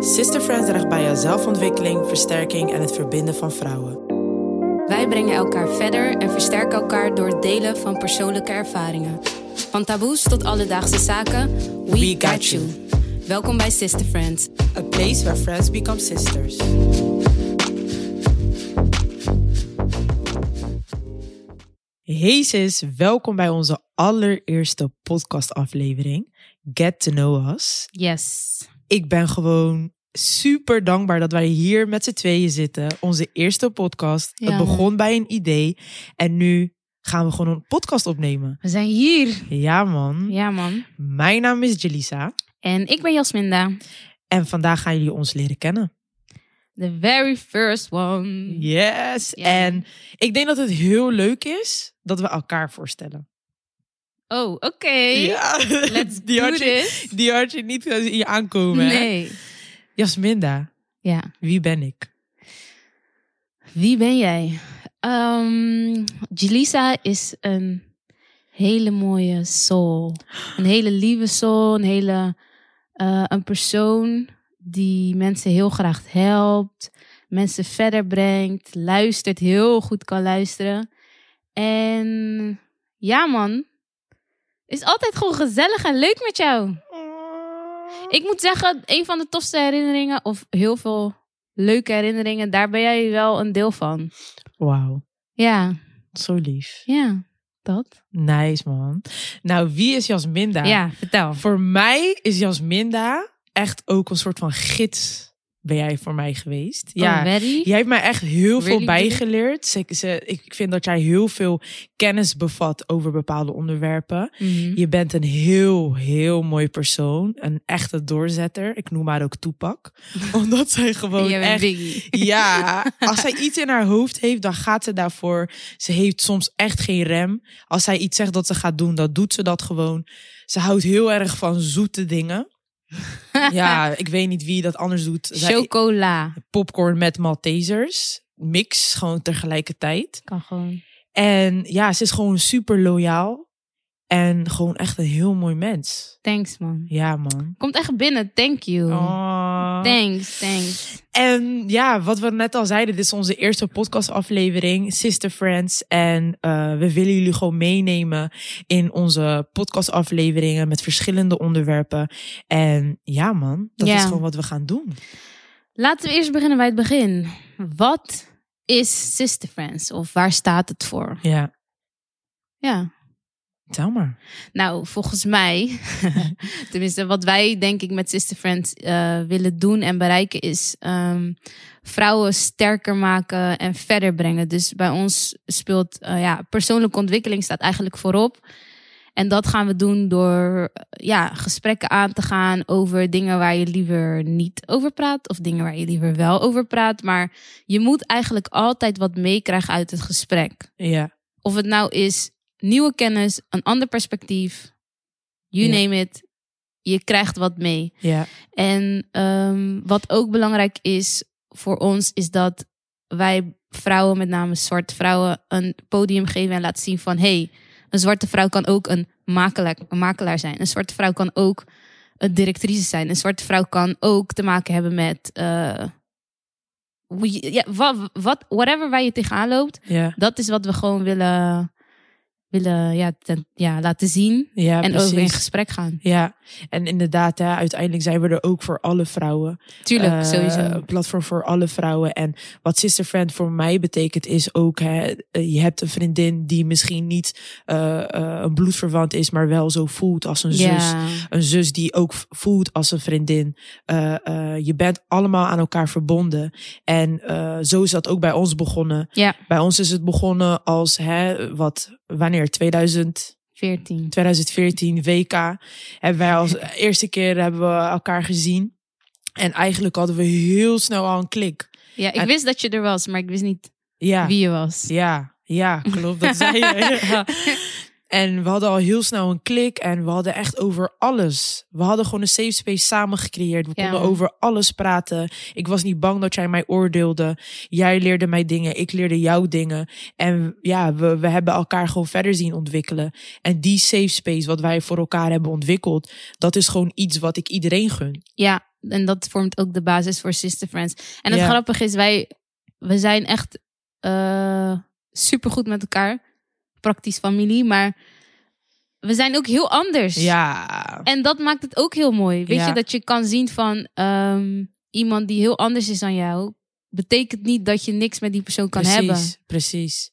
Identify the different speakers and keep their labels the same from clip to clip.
Speaker 1: Sisterfriends draagt bij aan zelfontwikkeling, versterking en het verbinden van vrouwen.
Speaker 2: Wij brengen elkaar verder en versterken elkaar door het delen van persoonlijke ervaringen. Van taboes tot alledaagse zaken, we, got, you. Welkom bij Sister Friends.
Speaker 1: A place where friends become sisters. Hey sis, welkom bij onze allereerste podcastaflevering Get to Know Us.
Speaker 2: Yes.
Speaker 1: Ik ben gewoon super dankbaar dat wij hier met z'n tweeën zitten. Onze eerste podcast.
Speaker 2: Ja,
Speaker 1: het begon bij een idee en nu gaan we gewoon een podcast opnemen.
Speaker 2: We zijn hier.
Speaker 1: Ja man.
Speaker 2: Ja, man.
Speaker 1: Mijn naam is Jelisa
Speaker 2: En ik ben Jasminda.
Speaker 1: en vandaag gaan jullie ons leren kennen.
Speaker 2: The very first one.
Speaker 1: Yes.
Speaker 2: Mm. Ja.
Speaker 1: En ik denk dat het heel leuk is dat we elkaar voorstellen.
Speaker 2: Oh, oké.
Speaker 1: Ja.
Speaker 2: Let's
Speaker 1: die
Speaker 2: do
Speaker 1: had je,
Speaker 2: this.
Speaker 1: die had je niet in je aankomen. hè?
Speaker 2: Nee.
Speaker 1: Jasminda,
Speaker 2: Ja.
Speaker 1: wie ben ik?
Speaker 2: Wie ben jij? Ehm Jelisa is een hele mooie soul. Een hele lieve soul. Een, hele, eh, een persoon die mensen heel graag helpt. Mensen verder brengt. Luistert, heel goed kan luisteren. En ja man, is altijd gewoon gezellig en leuk met jou. Ik moet zeggen, een van de tofste herinneringen, of heel veel leuke herinneringen, daar ben jij wel een deel van.
Speaker 1: Wauw,
Speaker 2: Ja,
Speaker 1: zo lief.
Speaker 2: ja, dat.
Speaker 1: Nice man. Nou, wie is Jasminda?
Speaker 2: Ja, vertel.
Speaker 1: Voor mij is Jasminda echt ook een soort van gids. Ben jij voor mij geweest?
Speaker 2: Ja,
Speaker 1: Ja, Jij hebt mij echt heel
Speaker 2: Really
Speaker 1: veel bijgeleerd. Ze, ze- ik vind dat jij heel veel kennis bevat over bepaalde
Speaker 2: Mhm.
Speaker 1: onderwerpen. Je bent een heel, heel mooi persoon. Een echte doorzetter. Ik noem haar ook Toepak. Omdat zij gewoon echt...
Speaker 2: Biggie.
Speaker 1: Ja, als zij iets in haar hoofd heeft, dan gaat ze daarvoor. Ze heeft soms echt geen rem. Als zij iets zegt dat ze gaat doen, dan doet ze dat gewoon. Ze houdt heel erg van zoete dingen. Ja, ik weet niet wie dat anders doet. Zij,
Speaker 2: Chocola.
Speaker 1: popcorn met Maltesers. Mix, gewoon tegelijkertijd.
Speaker 2: Kan gewoon.
Speaker 1: En ja, ze is gewoon super loyaal. En gewoon echt een heel mooi mens.
Speaker 2: Thanks, man.
Speaker 1: Ja, man.
Speaker 2: Komt echt binnen, thank you.
Speaker 1: Oh.
Speaker 2: Thanks, thanks.
Speaker 1: En ja, wat we net al zeiden, dit is onze eerste podcastaflevering, Sister Friends. En eh, we willen jullie gewoon meenemen in onze podcastafleveringen met verschillende onderwerpen. En ja, man, dat
Speaker 2: Ja.
Speaker 1: is gewoon wat we gaan doen.
Speaker 2: Laten we eerst beginnen bij het begin. Wat is Sister Friends? Of waar staat het voor?
Speaker 1: Ja,
Speaker 2: Ja.
Speaker 1: tel maar.
Speaker 2: Nou, volgens mij, tenminste wat wij denk ik met Sister Friends eh, willen doen en bereiken is ehm, vrouwen sterker maken en verder brengen. Dus bij ons speelt eh, ja, persoonlijke ontwikkeling staat eigenlijk voorop. En dat gaan we doen door eh, ja, gesprekken aan te gaan over dingen waar je liever niet over praat of dingen waar je liever wel over praat. Maar je moet eigenlijk altijd wat meekrijgen uit het gesprek.
Speaker 1: Ja,
Speaker 2: Of het nou is nieuwe kennis, een ander perspectief. You
Speaker 1: Ja.
Speaker 2: name it. Je krijgt wat mee.
Speaker 1: ja,
Speaker 2: En ehm, wat ook belangrijk is voor ons, is dat wij vrouwen, met name zwarte vrouwen, een podium geven en laten zien van hey, een zwarte vrouw kan ook een makelaar, een makelaar zijn. Een zwarte vrouw kan ook een directrice zijn. Een zwarte vrouw kan ook te maken hebben met. eh, hoe je- ja, wat, wat, whatever waar je tegenaan loopt,
Speaker 1: ja.
Speaker 2: dat is wat we gewoon willen, willen ja, ten- ja, laten zien.
Speaker 1: ja
Speaker 2: en
Speaker 1: precies.
Speaker 2: ook in gesprek gaan.
Speaker 1: Ja, en inderdaad, hè, uiteindelijk zijn we er ook voor alle vrouwen.
Speaker 2: Tuurlijk,
Speaker 1: Eh,
Speaker 2: sowieso.
Speaker 1: Een platform voor alle vrouwen. En wat Sister Friend voor mij betekent is ook... Hè, eh, je hebt een vriendin die misschien niet eh, eh, een bloedverwant is... maar wel zo voelt als een zus.
Speaker 2: Ja,
Speaker 1: Een zus die ook v- voelt als een vriendin. Eh, eh, je bent allemaal aan elkaar verbonden. En eh, zo is dat ook bij ons begonnen.
Speaker 2: Ja.
Speaker 1: Bij ons is het begonnen als... Hè, wat, wanneer? 2000...
Speaker 2: 14.
Speaker 1: 2014 WK. Hebben wij als eerste keer hebben we elkaar gezien. En eigenlijk hadden we heel snel al een klik.
Speaker 2: Ja, ik
Speaker 1: En-
Speaker 2: wist dat je er was, maar ik wist niet
Speaker 1: Ja,
Speaker 2: wie je was.
Speaker 1: ja, ja, klopt. Dat zei je. Ja. En we hadden al heel snel een klik en we hadden echt over alles. We hadden gewoon een safe space samen gecreëerd. We
Speaker 2: Ja,
Speaker 1: konden
Speaker 2: man.
Speaker 1: over alles praten. Ik was niet bang dat jij mij oordeelde. Jij leerde mij dingen, ik leerde jou dingen. En ja, we, we hebben elkaar gewoon verder zien ontwikkelen. En die safe space wat wij voor elkaar hebben ontwikkeld, dat is gewoon iets wat ik iedereen gun.
Speaker 2: Ja, En dat vormt ook de basis voor Sister Friends. En het
Speaker 1: Ja.
Speaker 2: grappige is, wij we zijn echt eh supergoed met elkaar. Praktisch familie, maar we zijn ook heel anders.
Speaker 1: Ja.
Speaker 2: En dat maakt het ook heel mooi. Weet
Speaker 1: Ja.
Speaker 2: je, dat je kan zien van ehm, iemand die heel anders is dan jou. Betekent niet dat je niks met die persoon kan
Speaker 1: precies,
Speaker 2: hebben.
Speaker 1: Precies.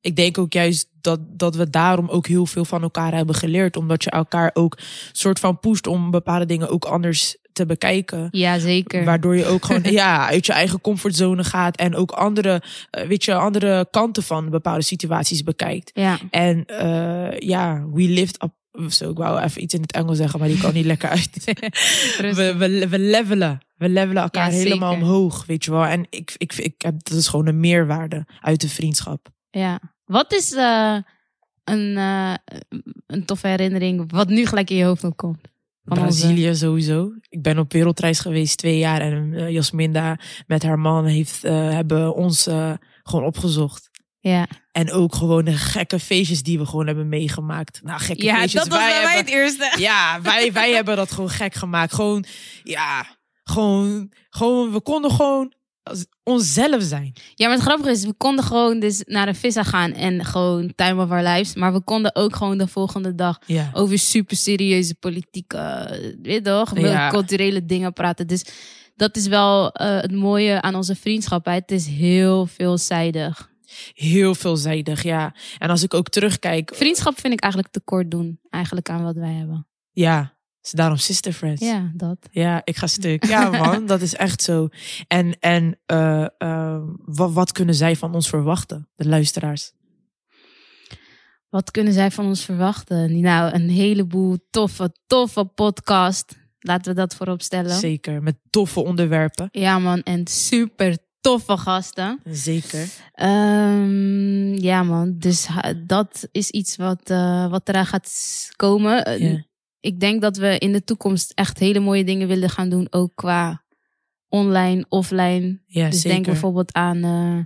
Speaker 1: Ik denk ook juist dat, dat we daarom ook heel veel van elkaar hebben geleerd. Omdat je elkaar ook soort van pusht om bepaalde dingen ook anders te bekijken.
Speaker 2: Ja, zeker.
Speaker 1: Waardoor je ook gewoon ja, uit je eigen comfortzone gaat. En ook andere, eh, weet je, andere kanten van bepaalde situaties bekijkt.
Speaker 2: Ja.
Speaker 1: En eh, ja, we lived up. Zo, ik wou even iets in het Engels zeggen, maar die kan niet lekker uit. We, we, we levelen. We levelen elkaar
Speaker 2: Ja,
Speaker 1: helemaal
Speaker 2: zeker.
Speaker 1: omhoog, weet je wel. En ik, ik, ik heb, dat is gewoon een meerwaarde uit de vriendschap.
Speaker 2: Ja. Wat is eh, een, eh, een toffe herinnering wat nu gelijk in je hoofd opkomt? Van onze-
Speaker 1: Brazilië sowieso. Ik ben op wereldreis geweest twee jaar. En eh, Jasminda met haar man heeft, eh, hebben ons eh, gewoon opgezocht.
Speaker 2: Ja,
Speaker 1: En ook gewoon de gekke feestjes die we gewoon hebben meegemaakt. Nou, gekke
Speaker 2: ja
Speaker 1: feestjes.
Speaker 2: dat was
Speaker 1: Wij
Speaker 2: bij mij
Speaker 1: hebben-
Speaker 2: het eerste.
Speaker 1: Ja, wij, wij hebben dat gewoon gek gemaakt. Gewoon, ja, gewoon, gewoon, we konden gewoon als- onszelf zijn.
Speaker 2: Ja, maar het grappige is, we konden gewoon dus naar de vissa gaan en gewoon time of our lives. Maar we konden ook gewoon de volgende dag
Speaker 1: Ja,
Speaker 2: over super serieuze politieke, eh, weet je toch,
Speaker 1: Ja.
Speaker 2: culturele dingen praten. Dus dat is wel eh, het mooie aan onze vriendschap. Hè. Het is heel veelzijdig.
Speaker 1: heel veelzijdig, ja. En als ik ook terugkijk,
Speaker 2: Vriendschap vind ik eigenlijk tekort doen, eigenlijk aan wat wij hebben.
Speaker 1: ja, is daarom sister friends.
Speaker 2: Ja, dat.
Speaker 1: Ja, ik ga stuk. Ja, man, dat is echt zo. En, en eh, eh, wat, wat kunnen zij van ons verwachten, de luisteraars?
Speaker 2: Wat kunnen zij van ons verwachten? Nou, een heleboel toffe, toffe podcast. Laten we dat voorop stellen.
Speaker 1: Zeker, met toffe onderwerpen.
Speaker 2: Ja, man, en super toffe gasten.
Speaker 1: Zeker.
Speaker 2: Ehm, ja, man, dus ha- dat is iets wat, eh, wat eraan gaat s- komen. Eh,
Speaker 1: Ja.
Speaker 2: Ik denk dat we in de toekomst echt hele mooie dingen willen gaan doen, ook qua online, offline.
Speaker 1: Ja,
Speaker 2: dus
Speaker 1: zeker.
Speaker 2: denk bijvoorbeeld aan eh,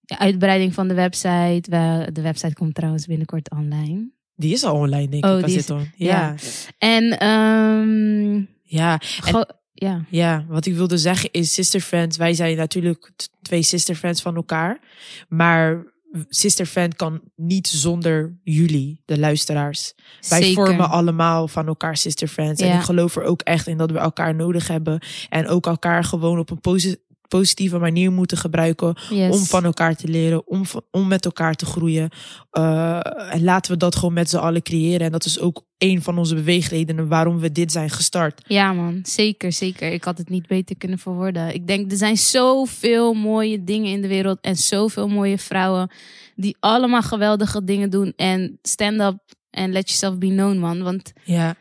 Speaker 2: ja, uitbreiding van de website. We- de website komt trouwens binnenkort online.
Speaker 1: Die is al online, denk
Speaker 2: Oh,
Speaker 1: ik. Als
Speaker 2: die
Speaker 1: dit dan.
Speaker 2: ja.
Speaker 1: Ja.
Speaker 2: En ehm
Speaker 1: Ja.
Speaker 2: go- ja,
Speaker 1: Ja, wat ik wilde zeggen is sister friends. Wij zijn natuurlijk t- twee sister friends van elkaar. Maar sister friend kan niet zonder jullie, de luisteraars. Wij
Speaker 2: zeker.
Speaker 1: vormen allemaal van elkaar sister friends. En
Speaker 2: Ja.
Speaker 1: ik geloof er ook echt in dat we elkaar nodig hebben. En ook elkaar gewoon op een posi- positieve manier moeten gebruiken.
Speaker 2: Yes.
Speaker 1: Om van elkaar te leren, om, van- om met elkaar te groeien. Eh, en laten we dat gewoon met z'n allen creëren. En dat is ook een van onze beweegredenen waarom we dit zijn gestart.
Speaker 2: Ja man, zeker, zeker. Ik had het niet beter kunnen verwoorden. Ik denk, er zijn zoveel mooie dingen in de wereld en zoveel mooie vrouwen die allemaal geweldige dingen doen. En stand up en let yourself be known man. Want
Speaker 1: Ja,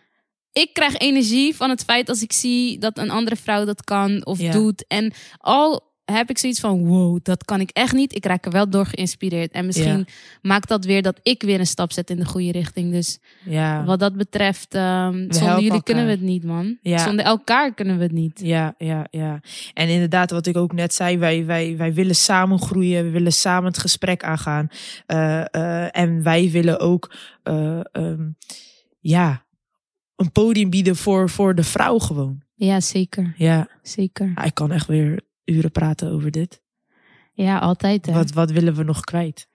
Speaker 2: ik krijg energie van het feit als ik zie dat een andere vrouw dat kan of
Speaker 1: Ja.
Speaker 2: doet. En al heb ik zoiets van, wow, dat kan ik echt niet. Ik raak er wel door geïnspireerd. En misschien
Speaker 1: Ja.
Speaker 2: maakt dat weer dat ik weer een stap zet in de goede richting. Dus
Speaker 1: ja.
Speaker 2: wat dat betreft, ehm, zonder
Speaker 1: helpen
Speaker 2: jullie kunnen we
Speaker 1: elkaar.
Speaker 2: het niet, man.
Speaker 1: Ja.
Speaker 2: Zonder elkaar kunnen we het niet.
Speaker 1: Ja, ja, ja. En inderdaad, wat ik ook net zei, wij, wij, wij willen samen groeien, we willen samen het gesprek aangaan. Eh, eh, en wij willen ook eh, ehm, ja, een podium bieden voor, voor de vrouw gewoon.
Speaker 2: Ja, zeker.
Speaker 1: Ja,
Speaker 2: Zeker.
Speaker 1: ik kan echt weer uren praten over dit.
Speaker 2: Ja, altijd. Hè.
Speaker 1: Wat, wat willen we nog kwijt?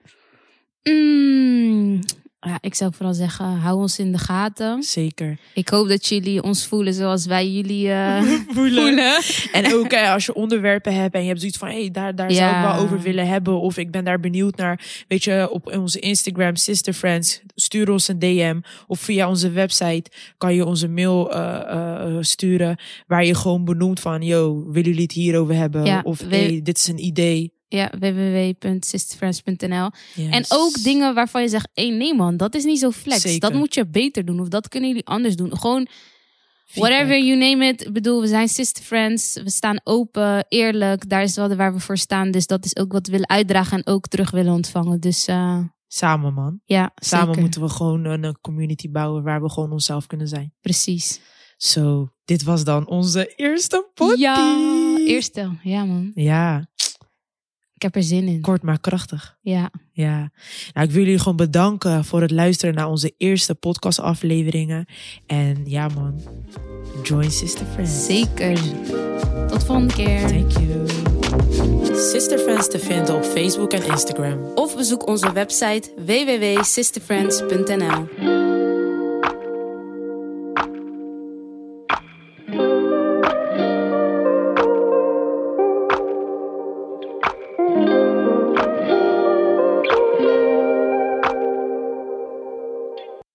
Speaker 2: Mm. Ja, ik zou vooral zeggen, hou ons in de gaten.
Speaker 1: Zeker.
Speaker 2: Ik hoop dat jullie ons voelen zoals wij jullie eh, voelen.
Speaker 1: En ook eh, als je onderwerpen hebt en je hebt zoiets van, hé, hey, daar, daar zou ik
Speaker 2: Ja.
Speaker 1: wel over willen hebben. Of ik ben daar benieuwd naar. Weet je, op onze Instagram, Sister Friends, stuur ons een DM. Of via onze website kan je onze mail eh, eh, sturen. Waar je gewoon benoemt van, yo, willen jullie het hierover hebben?
Speaker 2: Ja,
Speaker 1: of
Speaker 2: we-
Speaker 1: hey, dit is een idee.
Speaker 2: Ja, www.sisterfriends.nl. En
Speaker 1: Yes.
Speaker 2: ook dingen waarvan je zegt, hey, nee man, dat is niet zo flex.
Speaker 1: Zeker.
Speaker 2: Dat moet je beter doen of dat kunnen jullie anders doen. Gewoon,
Speaker 1: Feedback.
Speaker 2: whatever you name it. Ik bedoel, we zijn sister friends. We staan open, eerlijk. Daar is wel waar we voor staan. Dus dat is ook wat we willen uitdragen en ook terug willen ontvangen. Dus eh,
Speaker 1: Samen, man.
Speaker 2: ja,
Speaker 1: Samen
Speaker 2: zeker.
Speaker 1: moeten we gewoon een eh, community bouwen waar we gewoon onszelf kunnen zijn.
Speaker 2: Precies.
Speaker 1: Zo, dit was dan onze eerste podcast.
Speaker 2: Ja, eerste. Ja, man.
Speaker 1: Ja.
Speaker 2: Ik heb er zin in.
Speaker 1: Kort maar krachtig.
Speaker 2: Ja.
Speaker 1: Ja. Nou, ik wil jullie gewoon bedanken voor het luisteren naar onze eerste podcastafleveringen. En ja, man. Join Sister Friends.
Speaker 2: Zeker. Tot volgende keer.
Speaker 1: Thank you. Sister Friends te vinden op Facebook en Instagram.
Speaker 2: Of bezoek onze website www.sisterfriends.nl